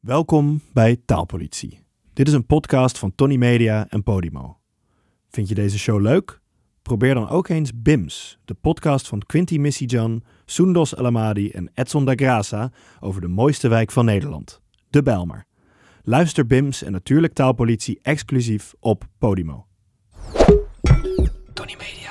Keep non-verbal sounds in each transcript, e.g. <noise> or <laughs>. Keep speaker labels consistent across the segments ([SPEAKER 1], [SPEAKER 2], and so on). [SPEAKER 1] Welkom bij Taalpolitie. Dit is een podcast van Tony Media en Podimo. Vind je deze show leuk? Probeer dan ook eens BIMS, de podcast van Quinty Missijan, Soendos Alamadi en Edson da Graça over de mooiste wijk van Nederland, de Bijlmer. Luister BIMS en natuurlijk Taalpolitie exclusief op Podimo.
[SPEAKER 2] Tony Media.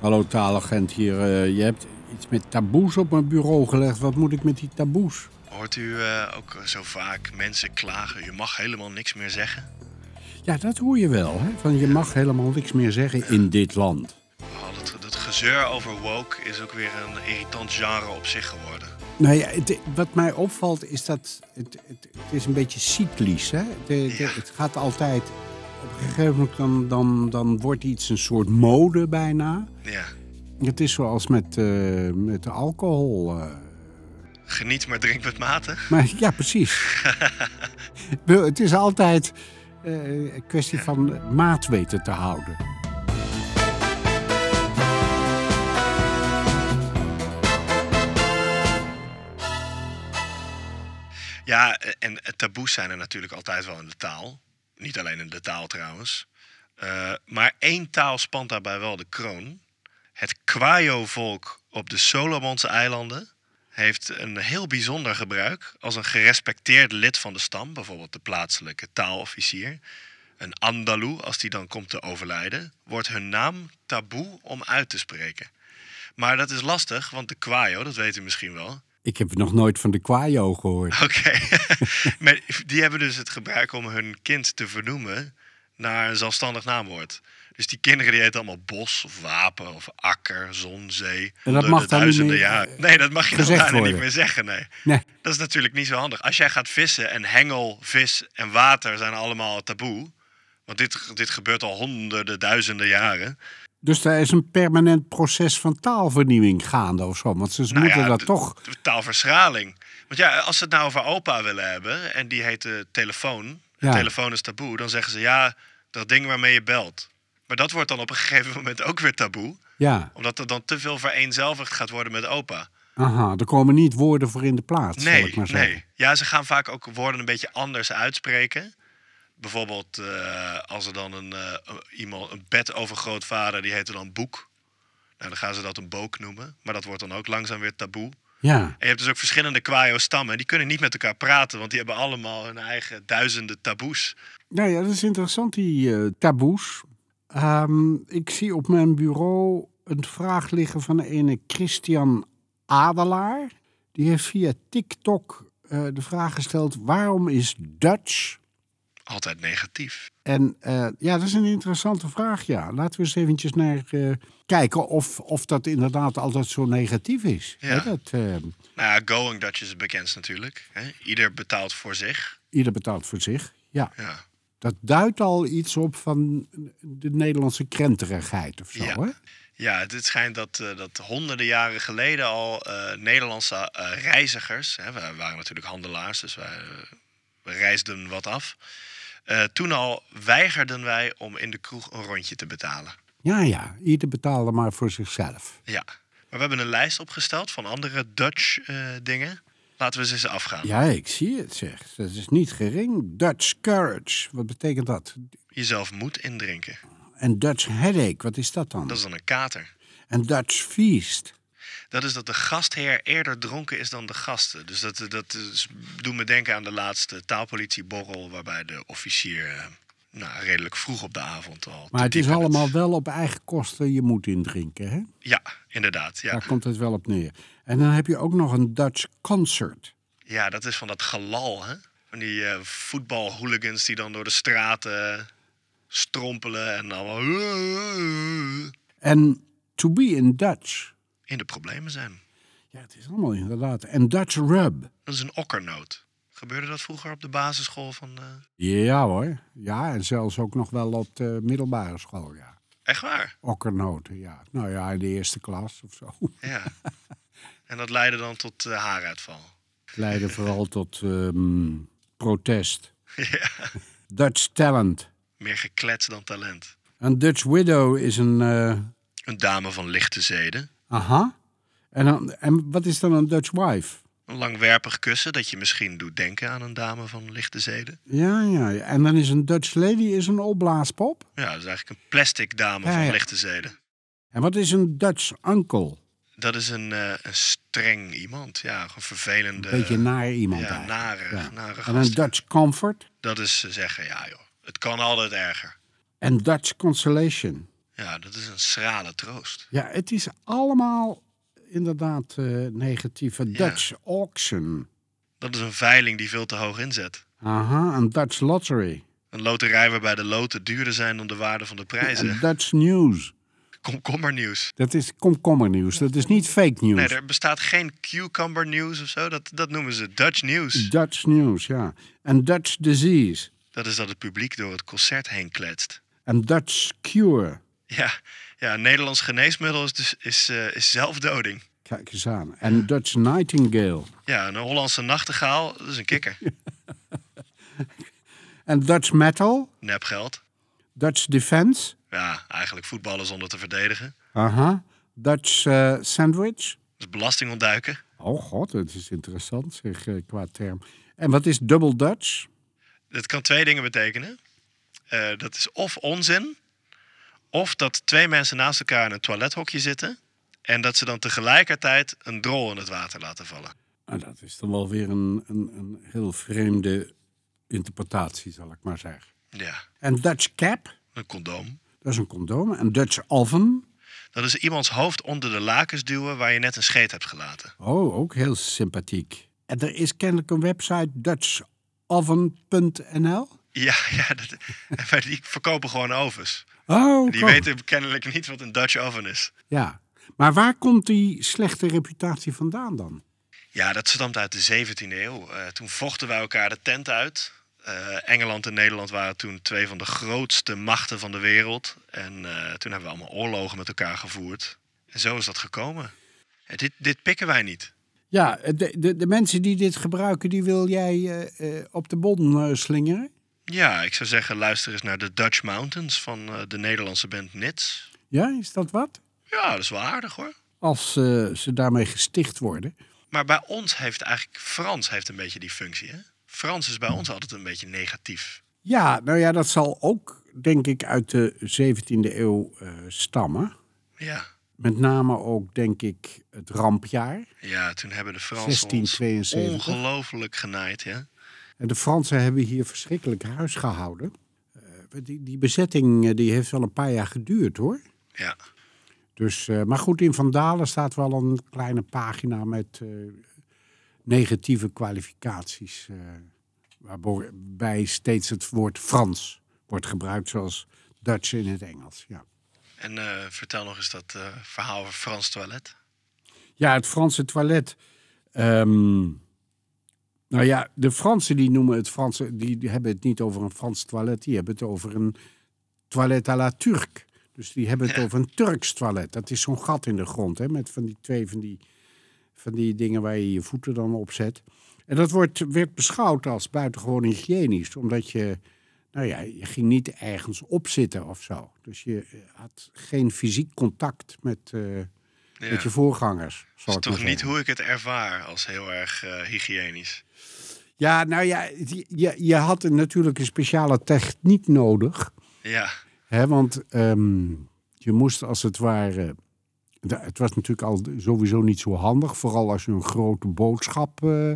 [SPEAKER 3] Hallo taalagent hier. eh, je hebt iets met taboes op mijn bureau gelegd. Wat moet ik met die taboes?
[SPEAKER 4] Hoort u eh, ook zo vaak mensen klagen, je mag helemaal niks meer zeggen?
[SPEAKER 3] Ja, dat hoor je wel. Hè? Van je mag helemaal niks meer zeggen in dit land.
[SPEAKER 4] Oh, dat, dat gezeur over woke is ook weer een irritant genre op zich geworden.
[SPEAKER 3] Nou ja, het- wat mij opvalt is dat het, het, het is een beetje cyclisch. Hè? Het, het-
[SPEAKER 4] Ja.
[SPEAKER 3] het gaat altijd. Op een gegeven moment dan, dan, dan wordt iets een soort mode bijna.
[SPEAKER 4] Ja,
[SPEAKER 3] Het is zoals met, eh, met alcohol. eh.
[SPEAKER 4] geniet maar drink met mate.
[SPEAKER 3] Maar ja, precies.
[SPEAKER 4] <laughs>
[SPEAKER 3] Ik bedoel, het is altijd eh, een kwestie van maat weten te houden.
[SPEAKER 4] Ja, eh, en eh, taboes zijn er natuurlijk altijd wel in de taal. Niet alleen in de taal trouwens. Eh, maar één taal spant daarbij wel de kroon. Het Kwajo-volk op de Solomonse eilanden heeft een heel bijzonder gebruik als een gerespecteerd lid van de stam, bijvoorbeeld de plaatselijke taalofficier, een Andalou, als die dan komt te overlijden, wordt hun naam taboe om uit te spreken. Maar dat is lastig, want de Kwajo, dat weet u misschien wel,
[SPEAKER 3] Ik heb nog nooit van de kwajo
[SPEAKER 4] <laughs>
[SPEAKER 3] gehoord.
[SPEAKER 4] Oké. maar die hebben dus het gebruik om hun kind te vernoemen naar een zelfstandig naamwoord. Dus die kinderen die heten allemaal bos of wapen of akker, zon, zee.
[SPEAKER 3] dat
[SPEAKER 4] onder
[SPEAKER 3] mag
[SPEAKER 4] de
[SPEAKER 3] dan niet
[SPEAKER 4] duizenden
[SPEAKER 3] meer, eh,
[SPEAKER 4] jaar. Nee, dat mag je dan
[SPEAKER 3] gezegd
[SPEAKER 4] bijna niet
[SPEAKER 3] worden.
[SPEAKER 4] meer zeggen. Nee.
[SPEAKER 3] Nee.
[SPEAKER 4] Dat is natuurlijk niet zo handig. Als jij gaat vissen en hengel, vis en water zijn allemaal taboe. Want dit, dit gebeurt al honderden, duizenden jaren.
[SPEAKER 3] Dus daar is een permanent proces van taalvernieuwing gaande of zo. Want ze moeten
[SPEAKER 4] Nou ja,
[SPEAKER 3] dat
[SPEAKER 4] de-
[SPEAKER 3] toch.
[SPEAKER 4] de Taalverschraling. Want ja, als ze het nou over opa willen hebben en die heet eh, telefoon, en
[SPEAKER 3] Ja.
[SPEAKER 4] telefoon is taboe, dan zeggen ze ja, dat ding waarmee je belt. Maar dat wordt dan op een gegeven moment ook weer taboe,
[SPEAKER 3] Ja,
[SPEAKER 4] omdat er dan te veel vereenzelvigd gaat worden met opa.
[SPEAKER 3] aha. Er komen niet woorden voor in de plaats. zal
[SPEAKER 4] Nee,
[SPEAKER 3] ik maar zeggen.
[SPEAKER 4] nee. Ja, ze gaan vaak ook woorden een beetje anders uitspreken. Bijvoorbeeld eh, als er dan een, eh, iemand, een bedovergrootvader, die heette dan boek. Nou, dan gaan ze dat een boek noemen, maar dat wordt dan ook langzaam weer taboe.
[SPEAKER 3] Ja,
[SPEAKER 4] En je hebt dus ook verschillende Kwajo-stammen. Die kunnen niet met elkaar praten, want die hebben allemaal hun eigen duizenden taboes.
[SPEAKER 3] nou ja, dat is interessant, die eh, taboes. Ehm, ik zie op mijn bureau een vraag liggen van een Christian Adelaar. Die heeft via TikTok eh, de vraag gesteld: waarom is Dutch
[SPEAKER 4] Altijd negatief.
[SPEAKER 3] En eh, ja, dat is een interessante vraag, ja. Laten we eens eventjes naar eh, kijken of, of dat inderdaad altijd zo negatief is.
[SPEAKER 4] Ja.
[SPEAKER 3] Hè, dat, eh,
[SPEAKER 4] Nou ja, Going Dutch is het bekendst natuurlijk. Hè? Ieder betaalt voor zich.
[SPEAKER 3] ieder betaalt voor zich. Ja,
[SPEAKER 4] Ja.
[SPEAKER 3] dat duidt al iets op van de Nederlandse krenterigheid of zo,
[SPEAKER 4] Ja.
[SPEAKER 3] hè?
[SPEAKER 4] Ja, het schijnt dat, eh, dat honderden jaren geleden al eh, Nederlandse eh, reizigers, hè, wij waren natuurlijk handelaars, dus wij eh, we reisden wat af. Eh, toen al weigerden wij om in de kroeg een rondje te betalen.
[SPEAKER 3] Ja, ja, ieder betaalde maar voor zichzelf.
[SPEAKER 4] Ja. Maar we hebben een lijst opgesteld van andere Dutch eh, dingen. Laten we ze eens afgaan.
[SPEAKER 3] Ja, ik zie het, zeg. Dat is niet gering. Dutch courage, wat betekent dat?
[SPEAKER 4] jezelf moet indrinken.
[SPEAKER 3] En Dutch headache, wat is dat dan?
[SPEAKER 4] Dat is dan een kater.
[SPEAKER 3] En Dutch feast.
[SPEAKER 4] Dat is dat de gastheer eerder dronken is dan de gasten. Dus dat, dat is, doet me denken aan de laatste taalpolitieborrel... waarbij de officier eh, nou, redelijk vroeg op de avond al...
[SPEAKER 3] Maar
[SPEAKER 4] te
[SPEAKER 3] het is
[SPEAKER 4] diep in
[SPEAKER 3] allemaal wel op eigen kosten je moet indrinken, hè?
[SPEAKER 4] Ja, inderdaad. Ja.
[SPEAKER 3] Daar komt het wel op neer. En dan heb je ook nog een Dutch concert.
[SPEAKER 4] ja, dat is van dat galal, hè? Van die eh, voetbalhooligans die dan door de straten strompelen... en allemaal
[SPEAKER 3] En To Be in Dutch.
[SPEAKER 4] in de problemen zijn.
[SPEAKER 3] Ja, het is allemaal inderdaad. En Dutch Rub.
[SPEAKER 4] Dat is een okkernoot. Gebeurde dat vroeger op de basisschool van... eh,
[SPEAKER 3] Ja hoor. Ja, en zelfs ook nog wel op de middelbare school, ja.
[SPEAKER 4] Echt waar?
[SPEAKER 3] Okkernoten, ja. Nou ja, in de eerste klas of zo.
[SPEAKER 4] Ja. En dat leidde dan tot eh, haaruitval. <laughs>
[SPEAKER 3] Leidde vooral tot ehm, protest. Dutch Talent.
[SPEAKER 4] Meer geklets dan talent.
[SPEAKER 3] Een Dutch Widow is een... eh,
[SPEAKER 4] Een dame van lichte zeden.
[SPEAKER 3] aha. En, dan- en wat is dan een Dutch Wife?
[SPEAKER 4] Een langwerpig kussen dat je misschien doet denken aan een dame van lichte zeden.
[SPEAKER 3] Ja, ja, ja. En dan is een Dutch lady is een opblaaspop.
[SPEAKER 4] Ja, dat is eigenlijk een plastic dame
[SPEAKER 3] Ja,
[SPEAKER 4] van
[SPEAKER 3] ja.
[SPEAKER 4] lichte zeden.
[SPEAKER 3] En wat is een Dutch uncle?
[SPEAKER 4] Dat is een, eh, een streng iemand. Ja, een vervelende.
[SPEAKER 3] Beetje naar iemand
[SPEAKER 4] ja,
[SPEAKER 3] eigenlijk.
[SPEAKER 4] nare,
[SPEAKER 3] Ja.
[SPEAKER 4] nare
[SPEAKER 3] En een
[SPEAKER 4] gast.
[SPEAKER 3] Dutch comfort.
[SPEAKER 4] Dat is eh, zeggen, ja joh, het kan altijd erger.
[SPEAKER 3] En Dutch consolation.
[SPEAKER 4] Ja, dat is een schrale troost.
[SPEAKER 3] Ja, het is allemaal inderdaad eh negatieve. Dutch auction.
[SPEAKER 4] Dat is een veiling die veel te hoog inzet.
[SPEAKER 3] Aha, een Dutch lottery.
[SPEAKER 4] Een loterij waarbij de loten duurder zijn dan de waarde van de
[SPEAKER 3] En
[SPEAKER 4] prijzen.
[SPEAKER 3] Dutch news.
[SPEAKER 4] Komkommernieuws.
[SPEAKER 3] Dat is komkommernieuws. Dat is niet fake nieuws.
[SPEAKER 4] Nee, er bestaat geen cucumber nieuws of zo. Dat, dat noemen ze Dutch nieuws.
[SPEAKER 3] Dutch news, ja. En Dutch disease.
[SPEAKER 4] Dat is dat het publiek door het concert heen kletst.
[SPEAKER 3] En Dutch cure.
[SPEAKER 4] Ja, ja een Nederlands geneesmiddel is, dus, is, eh, is zelfdoding.
[SPEAKER 3] Kijk eens aan. En Dutch nightingale.
[SPEAKER 4] Ja, een Hollandse nachtegaal, dat is een kikker.
[SPEAKER 3] En Dutch metal.
[SPEAKER 4] Nepgeld.
[SPEAKER 3] Dutch defense.
[SPEAKER 4] Ja, eigenlijk voetballen zonder te verdedigen.
[SPEAKER 3] Aha. Dutch eh, sandwich.
[SPEAKER 4] Dat is belasting ontduiken.
[SPEAKER 3] Oh god, dat is interessant zeg, eh, qua term. En wat is double Dutch?
[SPEAKER 4] Dat kan twee dingen betekenen. Eh, dat is of onzin, of dat twee mensen naast elkaar in een toilethokje zitten en dat ze dan tegelijkertijd een drol in het water laten vallen.
[SPEAKER 3] Nou, dat is dan wel weer een, een, een heel vreemde interpretatie, zal ik maar zeggen.
[SPEAKER 4] Ja,
[SPEAKER 3] En Dutch cap,
[SPEAKER 4] een condoom.
[SPEAKER 3] dat is een condoom. En Dutch oven,
[SPEAKER 4] Dat is iemands hoofd onder de lakens duwen waar je net een scheet hebt gelaten.
[SPEAKER 3] oh, ook heel sympathiek. En er is kennelijk een website, dutchoven.nl.
[SPEAKER 4] Ja, <laughs> ja dat, maar die verkopen gewoon ovens.
[SPEAKER 3] Oh,
[SPEAKER 4] Die
[SPEAKER 3] kom.
[SPEAKER 4] weten kennelijk niet wat een Dutch oven is.
[SPEAKER 3] Ja. Maar waar komt die slechte reputatie vandaan dan?
[SPEAKER 4] Ja, dat stamt uit de 17e eeuw. Eh, toen vochten wij elkaar de tent uit. Eh, Engeland en Nederland waren toen twee van de grootste machten van de wereld. En eh, toen hebben we allemaal oorlogen met elkaar gevoerd. En zo is dat gekomen. Eh, dit, dit pikken wij niet.
[SPEAKER 3] Ja, de, de, de mensen die dit gebruiken, die wil jij eh, eh, op de bon eh, slingeren.
[SPEAKER 4] Ja, ik zou zeggen, luister eens naar de Dutch Mountains van eh, de Nederlandse band Nits.
[SPEAKER 3] Ja, is dat wat?
[SPEAKER 4] Ja, dat is wel aardig hoor.
[SPEAKER 3] Als eh, ze daarmee gesticht worden.
[SPEAKER 4] Maar bij ons heeft eigenlijk Frans heeft een beetje die functie. Hè? Frans is bij ons altijd een beetje negatief.
[SPEAKER 3] Ja, nou ja, dat zal ook, denk ik, uit de 17e eeuw eh, stammen.
[SPEAKER 4] Ja,
[SPEAKER 3] Met name ook, denk ik, het rampjaar.
[SPEAKER 4] ja toen hebben de Fransen ons
[SPEAKER 3] 1672.
[SPEAKER 4] ongelooflijk genaaid. Ja?
[SPEAKER 3] En de Fransen hebben hier verschrikkelijk huis gehouden. Eh, die, die bezetting eh, die heeft wel een paar jaar geduurd, hoor.
[SPEAKER 4] Ja.
[SPEAKER 3] Dus, eh, maar goed, in Van Dalen staat wel een kleine pagina met eh, negatieve kwalificaties. eh, waarbij steeds het woord Frans wordt gebruikt, zoals Dutch in het Engels. Ja,
[SPEAKER 4] En eh, vertel nog eens dat eh, verhaal over Frans toilet.
[SPEAKER 3] ja het Franse toilet. ehm, nou ja, de Fransen die noemen het Franse, die die hebben het niet over een Frans toilet, die hebben het over een toilet à la Turk. Dus die hebben het
[SPEAKER 4] Ja.
[SPEAKER 3] over een Turks toilet. Dat is zo'n gat in de grond, hè, met van die twee van die, van die dingen waar je je voeten dan op zet. En dat wordt, werd beschouwd als buitengewoon hygiënisch, omdat je, nou ja, je ging niet ergens op zitten of zo. Dus je eh, had geen fysiek contact met, eh, met je voorgangers. Zal
[SPEAKER 4] Dat is
[SPEAKER 3] ik maar
[SPEAKER 4] toch niet
[SPEAKER 3] zeggen.
[SPEAKER 4] hoe ik het ervaar als heel erg eh, hygiënisch.
[SPEAKER 3] Ja, nou ja, je- je, je had een- natuurlijk een speciale techniek nodig.
[SPEAKER 4] Ja,
[SPEAKER 3] Hè, want ehm, je moest als het ware. da- Het was natuurlijk al sowieso niet zo handig, vooral als je een grote boodschap eh,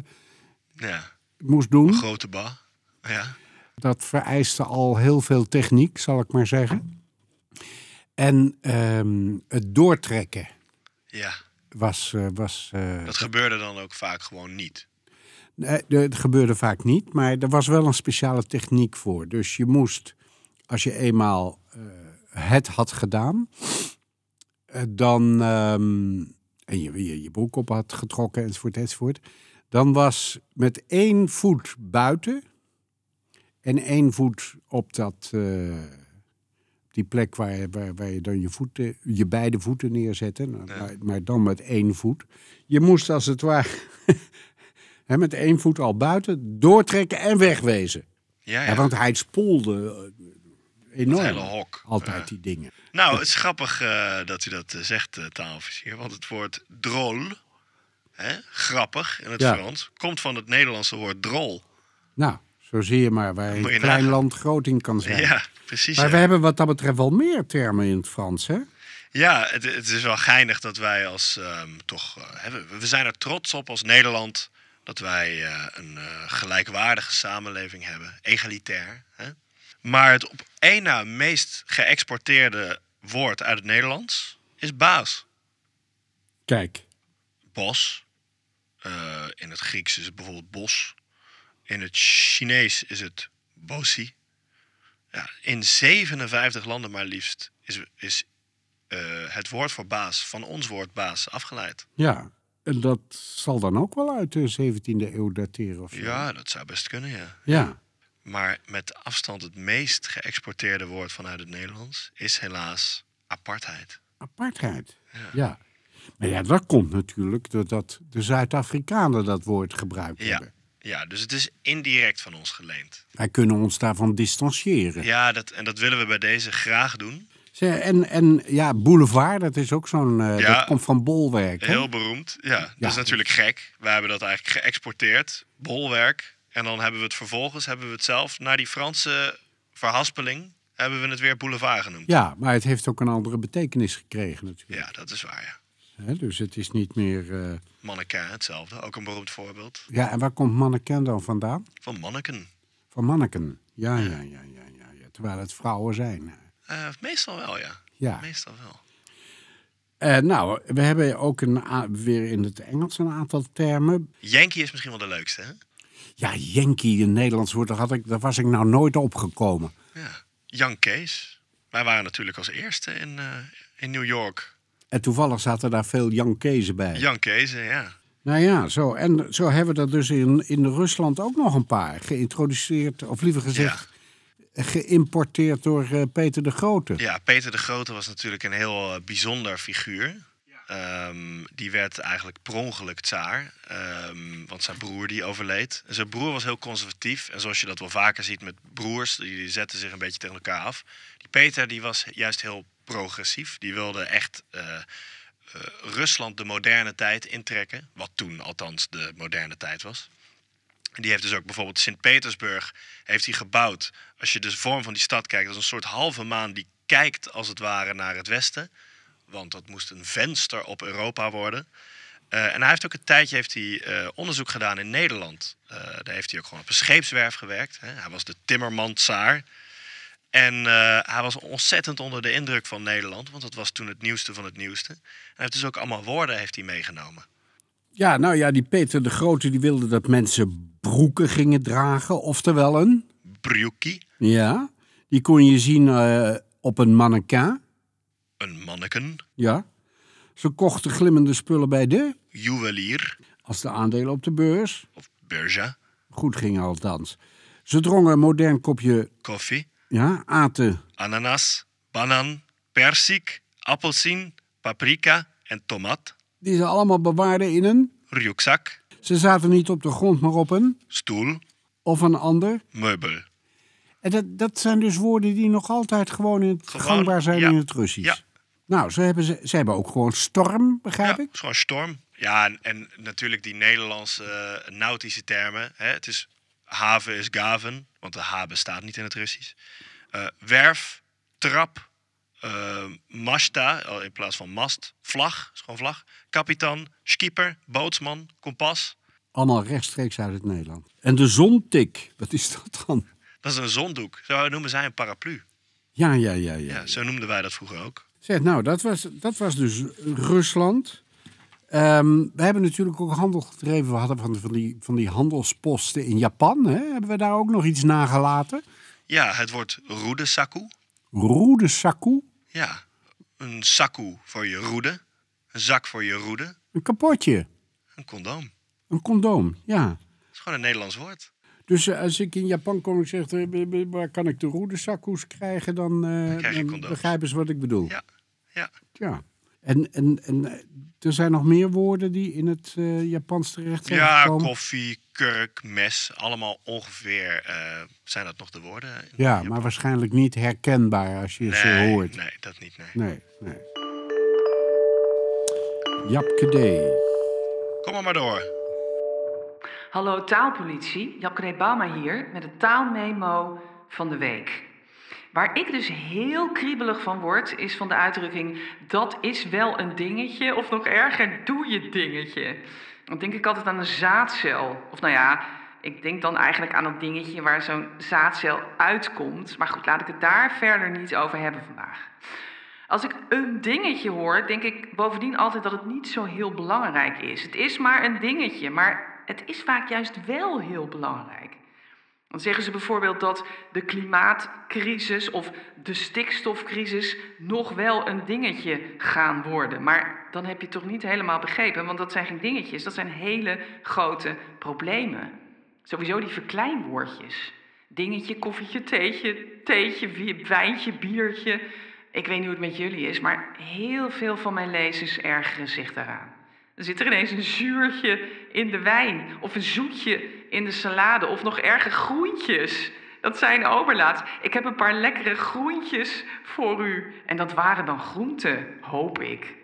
[SPEAKER 4] ja.
[SPEAKER 3] moest doen.
[SPEAKER 4] grote ba. Ja.
[SPEAKER 3] Dat vereiste al heel veel techniek, zal ik maar zeggen. En ehm, het doortrekken
[SPEAKER 4] ja.
[SPEAKER 3] was. eh, was eh,
[SPEAKER 4] Dat gebeurde dan ook vaak gewoon niet.
[SPEAKER 3] Nee, de- het gebeurde vaak niet, maar er was wel een speciale techniek voor. Dus je moest, als je eenmaal eh, het had gedaan, eh, dan, ehm, en je, je je broek op had getrokken enzovoort enzovoort, dan was met één voet buiten en één voet op dat, eh, die plek waar, je- waar, waar je dan je, voeten, je beide voeten neerzette, nou, maar, maar dan met één voet. Je moest als het ware Hè, met één voet al buiten, doortrekken en wegwezen.
[SPEAKER 4] Ja,
[SPEAKER 3] Hè,
[SPEAKER 4] ja.
[SPEAKER 3] want hij spoelde eh,
[SPEAKER 4] Het
[SPEAKER 3] enorm.
[SPEAKER 4] hele hok.
[SPEAKER 3] Altijd die dingen.
[SPEAKER 4] Nou, het is grappig eh, dat u dat eh, zegt, eh taalofficier. Want het woord drol hè, grappig in het
[SPEAKER 3] Ja.
[SPEAKER 4] Frans, komt van het Nederlandse woord drol.
[SPEAKER 3] Nou, zo zie je maar waar een
[SPEAKER 4] Moet je
[SPEAKER 3] klein
[SPEAKER 4] nagaan.
[SPEAKER 3] land groot in kan zijn.
[SPEAKER 4] Ja, precies.
[SPEAKER 3] maar
[SPEAKER 4] ja.
[SPEAKER 3] we hebben wat dat betreft wel meer termen in het Frans, hè?
[SPEAKER 4] Ja, het, het is wel geinig dat wij als ehm, toch. eh, hè, we- we zijn er trots op als Nederland dat wij eh, een eh, gelijkwaardige samenleving hebben, egalitair. Hè? Maar het op één na meest geëxporteerde woord uit het Nederlands is baas.
[SPEAKER 3] Kijk,
[SPEAKER 4] Bos. Eh, in het Grieks is het bijvoorbeeld bos. In het Chinees is het bosi. Ja, in 57 landen maar liefst is, is eh, het woord voor baas van ons woord baas afgeleid.
[SPEAKER 3] ja. En dat zal dan ook wel uit de 17e eeuw dateren of zo.
[SPEAKER 4] Ja, dat zou best kunnen, ja.
[SPEAKER 3] Ja.
[SPEAKER 4] Maar met afstand het meest geëxporteerde woord vanuit het Nederlands is helaas apartheid.
[SPEAKER 3] Apartheid. Ja. Maar ja, dat komt natuurlijk doordat de Zuid-Afrikanen dat woord gebruikt
[SPEAKER 4] Ja,
[SPEAKER 3] hebben.
[SPEAKER 4] ja dus het is indirect van ons geleend.
[SPEAKER 3] Wij kunnen ons daarvan distancieren.
[SPEAKER 4] Ja, dat, en dat willen we bij deze graag doen.
[SPEAKER 3] Zeg, En, en ja, boulevard, dat is ook zo'n... eh,
[SPEAKER 4] Ja.
[SPEAKER 3] Dat komt van bolwerk, hè?
[SPEAKER 4] Heel beroemd, ja.
[SPEAKER 3] Ja.
[SPEAKER 4] Dat is natuurlijk gek. Wij hebben dat eigenlijk geëxporteerd, bolwerk. En dan hebben we het vervolgens, hebben we het zelf, naar die Franse verhaspeling, hebben we het weer boulevard genoemd. Ja,
[SPEAKER 3] Ja, maar het heeft ook een andere betekenis gekregen natuurlijk.
[SPEAKER 4] dat is waar, ja.
[SPEAKER 3] Hè, dus het is niet meer... eh,
[SPEAKER 4] Mannequin, hetzelfde. Ook een beroemd voorbeeld.
[SPEAKER 3] Ja, en waar komt manneken dan vandaan?
[SPEAKER 4] Van manneken.
[SPEAKER 3] Van manneken. Ja, ja, ja, ja, ja, ja. Terwijl het vrouwen zijn.
[SPEAKER 4] Eh, meestal wel, ja.
[SPEAKER 3] Ja.
[SPEAKER 4] Meestal wel.
[SPEAKER 3] Eh, nou, we hebben ook een, a- weer in het Engels een aantal termen.
[SPEAKER 4] Yankee is misschien wel de leukste, hè?
[SPEAKER 3] Ja, Yankee, een Nederlands woord, daar, had ik, daar was ik nou nooit opgekomen.
[SPEAKER 4] Ja. Yankees. Wij waren natuurlijk als eerste in, eh, in New York.
[SPEAKER 3] En toevallig zaten daar veel Yankees bij.
[SPEAKER 4] Yankees, eh, ja.
[SPEAKER 3] Nou ja, zo. En zo hebben we er dus in, in Rusland ook nog een paar geïntroduceerd, of liever gezegd, geïmporteerd door eh, Peter de Grote.
[SPEAKER 4] Ja, Peter de Grote was natuurlijk een heel eh, bijzonder figuur. Ehm, die werd eigenlijk per ongeluk tsaar, ehm, want zijn broer die overleed. En zijn broer was heel conservatief en zoals je dat wel vaker ziet met broers, die, die zetten zich een beetje tegen elkaar af. Die Peter die was juist heel progressief, die wilde echt eh, eh, Rusland de moderne tijd intrekken, wat toen althans de moderne tijd was. En Die heeft dus ook bijvoorbeeld Sint-Petersburg heeft hij gebouwd. Als je de vorm van die stad kijkt, dat is een soort halve maan die kijkt als het ware naar het westen. Want dat moest een venster op Europa worden. Eh, en hij heeft ook een tijdje heeft hij, eh, onderzoek gedaan in Nederland. Eh, daar heeft hij ook gewoon op een scheepswerf gewerkt. Hè. Hij was de timmerman-tsaar. En eh, hij was ontzettend onder de indruk van Nederland, want dat was toen het nieuwste van het nieuwste. En hij heeft dus ook allemaal woorden heeft hij meegenomen.
[SPEAKER 3] Ja, nou ja, die Peter de Grote die wilde dat mensen broeken gingen dragen, oftewel een.
[SPEAKER 4] Brjuki,
[SPEAKER 3] Ja, die kon je zien eh, op een mannequin.
[SPEAKER 4] een manneken,
[SPEAKER 3] Ja. Ze kochten glimmende spullen bij de,
[SPEAKER 4] juwelier.
[SPEAKER 3] als de aandelen op de beurs.
[SPEAKER 4] of Berja,
[SPEAKER 3] Goed gingen althans. Ze drongen een modern kopje,
[SPEAKER 4] koffie,
[SPEAKER 3] ja, aten.
[SPEAKER 4] ananas, banaan, persik, appelsien, paprika en tomaat,
[SPEAKER 3] Die ze allemaal bewaarden in een.
[SPEAKER 4] rugzak,
[SPEAKER 3] Ze zaten niet op de grond, maar op een
[SPEAKER 4] stoel,
[SPEAKER 3] of een ander.
[SPEAKER 4] meubel.
[SPEAKER 3] En dat, dat zijn dus woorden die nog altijd gewoon in het
[SPEAKER 4] Gewoon,
[SPEAKER 3] gangbaar zijn
[SPEAKER 4] ja.
[SPEAKER 3] in het Russisch.
[SPEAKER 4] Ja.
[SPEAKER 3] Nou, ze hebben, ze, ze hebben ook gewoon storm, begrijp
[SPEAKER 4] ja,
[SPEAKER 3] ik.
[SPEAKER 4] het is gewoon storm. Ja, en, en natuurlijk die Nederlandse eh, nautische termen. Hè? Het is haven is gaven, want de ha bestaat niet in het Russisch. Eh, werf, trap, eh, masta oh, in plaats van mast, vlag, is gewoon vlag. Kapitan, skipper, bootsman, kompas.
[SPEAKER 3] Allemaal rechtstreeks uit het Nederland. En de zontik, wat is dat dan?
[SPEAKER 4] Dat is een zondoek. Zo noemen zij een paraplu.
[SPEAKER 3] Ja, ja, ja, ja.
[SPEAKER 4] Ja, zo noemden wij dat vroeger ook.
[SPEAKER 3] Zeg, nou, dat was, dat was dus Rusland. Ehm, we hebben natuurlijk ook handel gedreven. We hadden van, van, die, van die handelsposten in Japan. Hè? Hebben we daar ook nog iets nagelaten?
[SPEAKER 4] Ja, het woord roede saku.
[SPEAKER 3] Roede saku,
[SPEAKER 4] Ja, een saku voor je roede. Een zak voor je roede.
[SPEAKER 3] een kapotje,
[SPEAKER 4] Een condoom.
[SPEAKER 3] een condoom, ja.
[SPEAKER 4] Dat is gewoon een Nederlands woord.
[SPEAKER 3] Dus eh, als ik in Japan kom en ik zeg, eh, b- b- waar kan ik de roede sakus krijgen? Dan, eh,
[SPEAKER 4] krijg je
[SPEAKER 3] dan
[SPEAKER 4] condooms.
[SPEAKER 3] begrijpen ze wat ik bedoel.
[SPEAKER 4] Ja, ja.
[SPEAKER 3] Ja. En, en, en eh, er zijn nog meer woorden die in het eh, Japans terecht zijn
[SPEAKER 4] ja
[SPEAKER 3] gekomen.
[SPEAKER 4] koffie, kurk, mes. Allemaal ongeveer eh, zijn dat nog de woorden. in
[SPEAKER 3] Ja,
[SPEAKER 4] Japan?
[SPEAKER 3] maar waarschijnlijk niet herkenbaar als je ze
[SPEAKER 4] nee,
[SPEAKER 3] hoort.
[SPEAKER 4] Nee, dat niet. Nee.
[SPEAKER 3] Nee, nee. Japke D.
[SPEAKER 4] Kom maar maar door.
[SPEAKER 2] Hallo taalpolitie, Japke Bauma hier met het taalmemo van de week. Waar ik dus heel kriebelig van word, is van de uitdrukking dat is wel een dingetje of nog erger, doe je dingetje. Dan denk ik altijd aan een zaadcel. Of nou ja, ik denk dan eigenlijk aan dat dingetje waar zo'n zaadcel uitkomt. Maar goed, laat ik het daar verder niet over hebben vandaag. Als ik een dingetje hoor, denk ik bovendien altijd dat het niet zo heel belangrijk is. Het is maar een dingetje, maar het is vaak juist wel heel belangrijk. Dan zeggen ze bijvoorbeeld dat de klimaatcrisis of de stikstofcrisis nog wel een dingetje gaan worden. Maar dan heb je het toch niet helemaal begrepen, want dat zijn geen dingetjes, dat zijn hele grote problemen. Sowieso die verkleinwoordjes. Dingetje, koffietje, theetje, theetje, wi- wijntje, biertje. Ik weet niet hoe het met jullie is, maar heel veel van mijn lezers ergeren zich daaraan. Dan zit er ineens een zuurtje in de wijn, of een zoetje in de salade, of nog erger groentjes. Dat zijn overlaat. Ik heb een paar lekkere groentjes voor u. En dat waren dan groenten, hoop ik.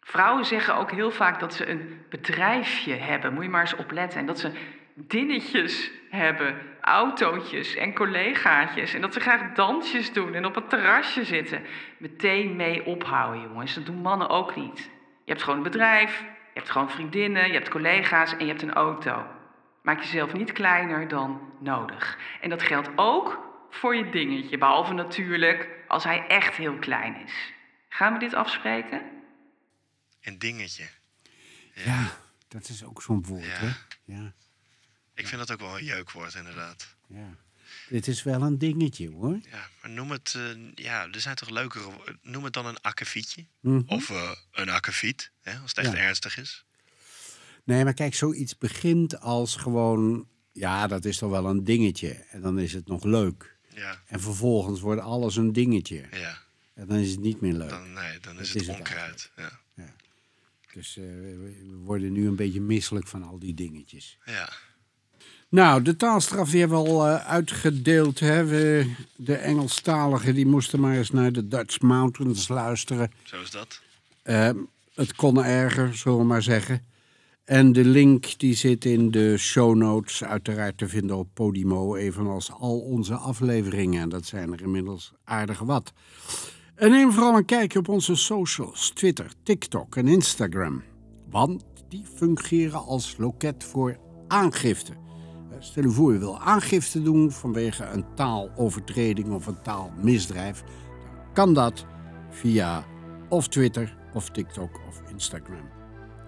[SPEAKER 2] Vrouwen zeggen ook heel vaak dat ze een bedrijfje hebben. Moet je maar eens opletten. En dat ze dinnetjes hebben, autootjes en collegaatjes. En dat ze graag dansjes doen en op het terrasje zitten. Meteen mee ophouden, jongens. Dat doen mannen ook niet. Je hebt gewoon een bedrijf, je hebt gewoon vriendinnen, je hebt collega's en je hebt een auto. Maak jezelf niet kleiner dan nodig. En dat geldt ook voor je dingetje, behalve natuurlijk als hij echt heel klein is. Gaan we dit afspreken?
[SPEAKER 4] Een dingetje.
[SPEAKER 3] Ja, dat is ook zo'n woord,
[SPEAKER 4] Ja.
[SPEAKER 3] hè? Ja,
[SPEAKER 4] Ik vind dat ook wel een jeukwoord, inderdaad.
[SPEAKER 3] ja. Dit is wel een dingetje, hoor.
[SPEAKER 4] Ja, maar noem het... eh, ja, er zijn toch leukere... wo- Noem het dan een akkefietje.
[SPEAKER 3] Mhm.
[SPEAKER 4] Of eh, een akkefiet, hè, als het echt
[SPEAKER 3] Ja.
[SPEAKER 4] ernstig is.
[SPEAKER 3] Nee, maar kijk, zoiets begint als gewoon... Ja, dat is toch wel een dingetje. En dan is het nog leuk.
[SPEAKER 4] Ja,
[SPEAKER 3] En vervolgens wordt alles een dingetje.
[SPEAKER 4] ja.
[SPEAKER 3] En dan is het niet meer leuk.
[SPEAKER 4] Dan, nee, dan
[SPEAKER 3] Dat
[SPEAKER 4] is het
[SPEAKER 3] is het
[SPEAKER 4] onkruid. Ja.
[SPEAKER 3] Dus eh, we we worden nu een beetje misselijk van al die dingetjes.
[SPEAKER 4] ja.
[SPEAKER 3] Nou, de taalstraf die hebben we al eh, uitgedeeld. Hè? We, de Engelstaligen die moesten maar eens naar de Dutch Mountains luisteren.
[SPEAKER 4] Zo is dat.
[SPEAKER 3] Eh, het kon erger, zullen we maar zeggen. En de link die zit in de show notes, uiteraard te vinden op Podimo, evenals al onze afleveringen. En dat zijn er inmiddels aardig wat. En neem vooral een kijkje op onze socials, Twitter, TikTok en Instagram. Want die fungeren als loket voor aangifte. Eh, Stel u voor, u wil aangifte doen vanwege een taalovertreding of een taalmisdrijf. Dan kan dat via of Twitter of TikTok of Instagram.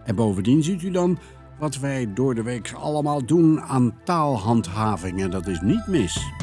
[SPEAKER 3] En bovendien ziet u dan wat wij door de week allemaal doen aan taalhandhaving. En dat is niet mis.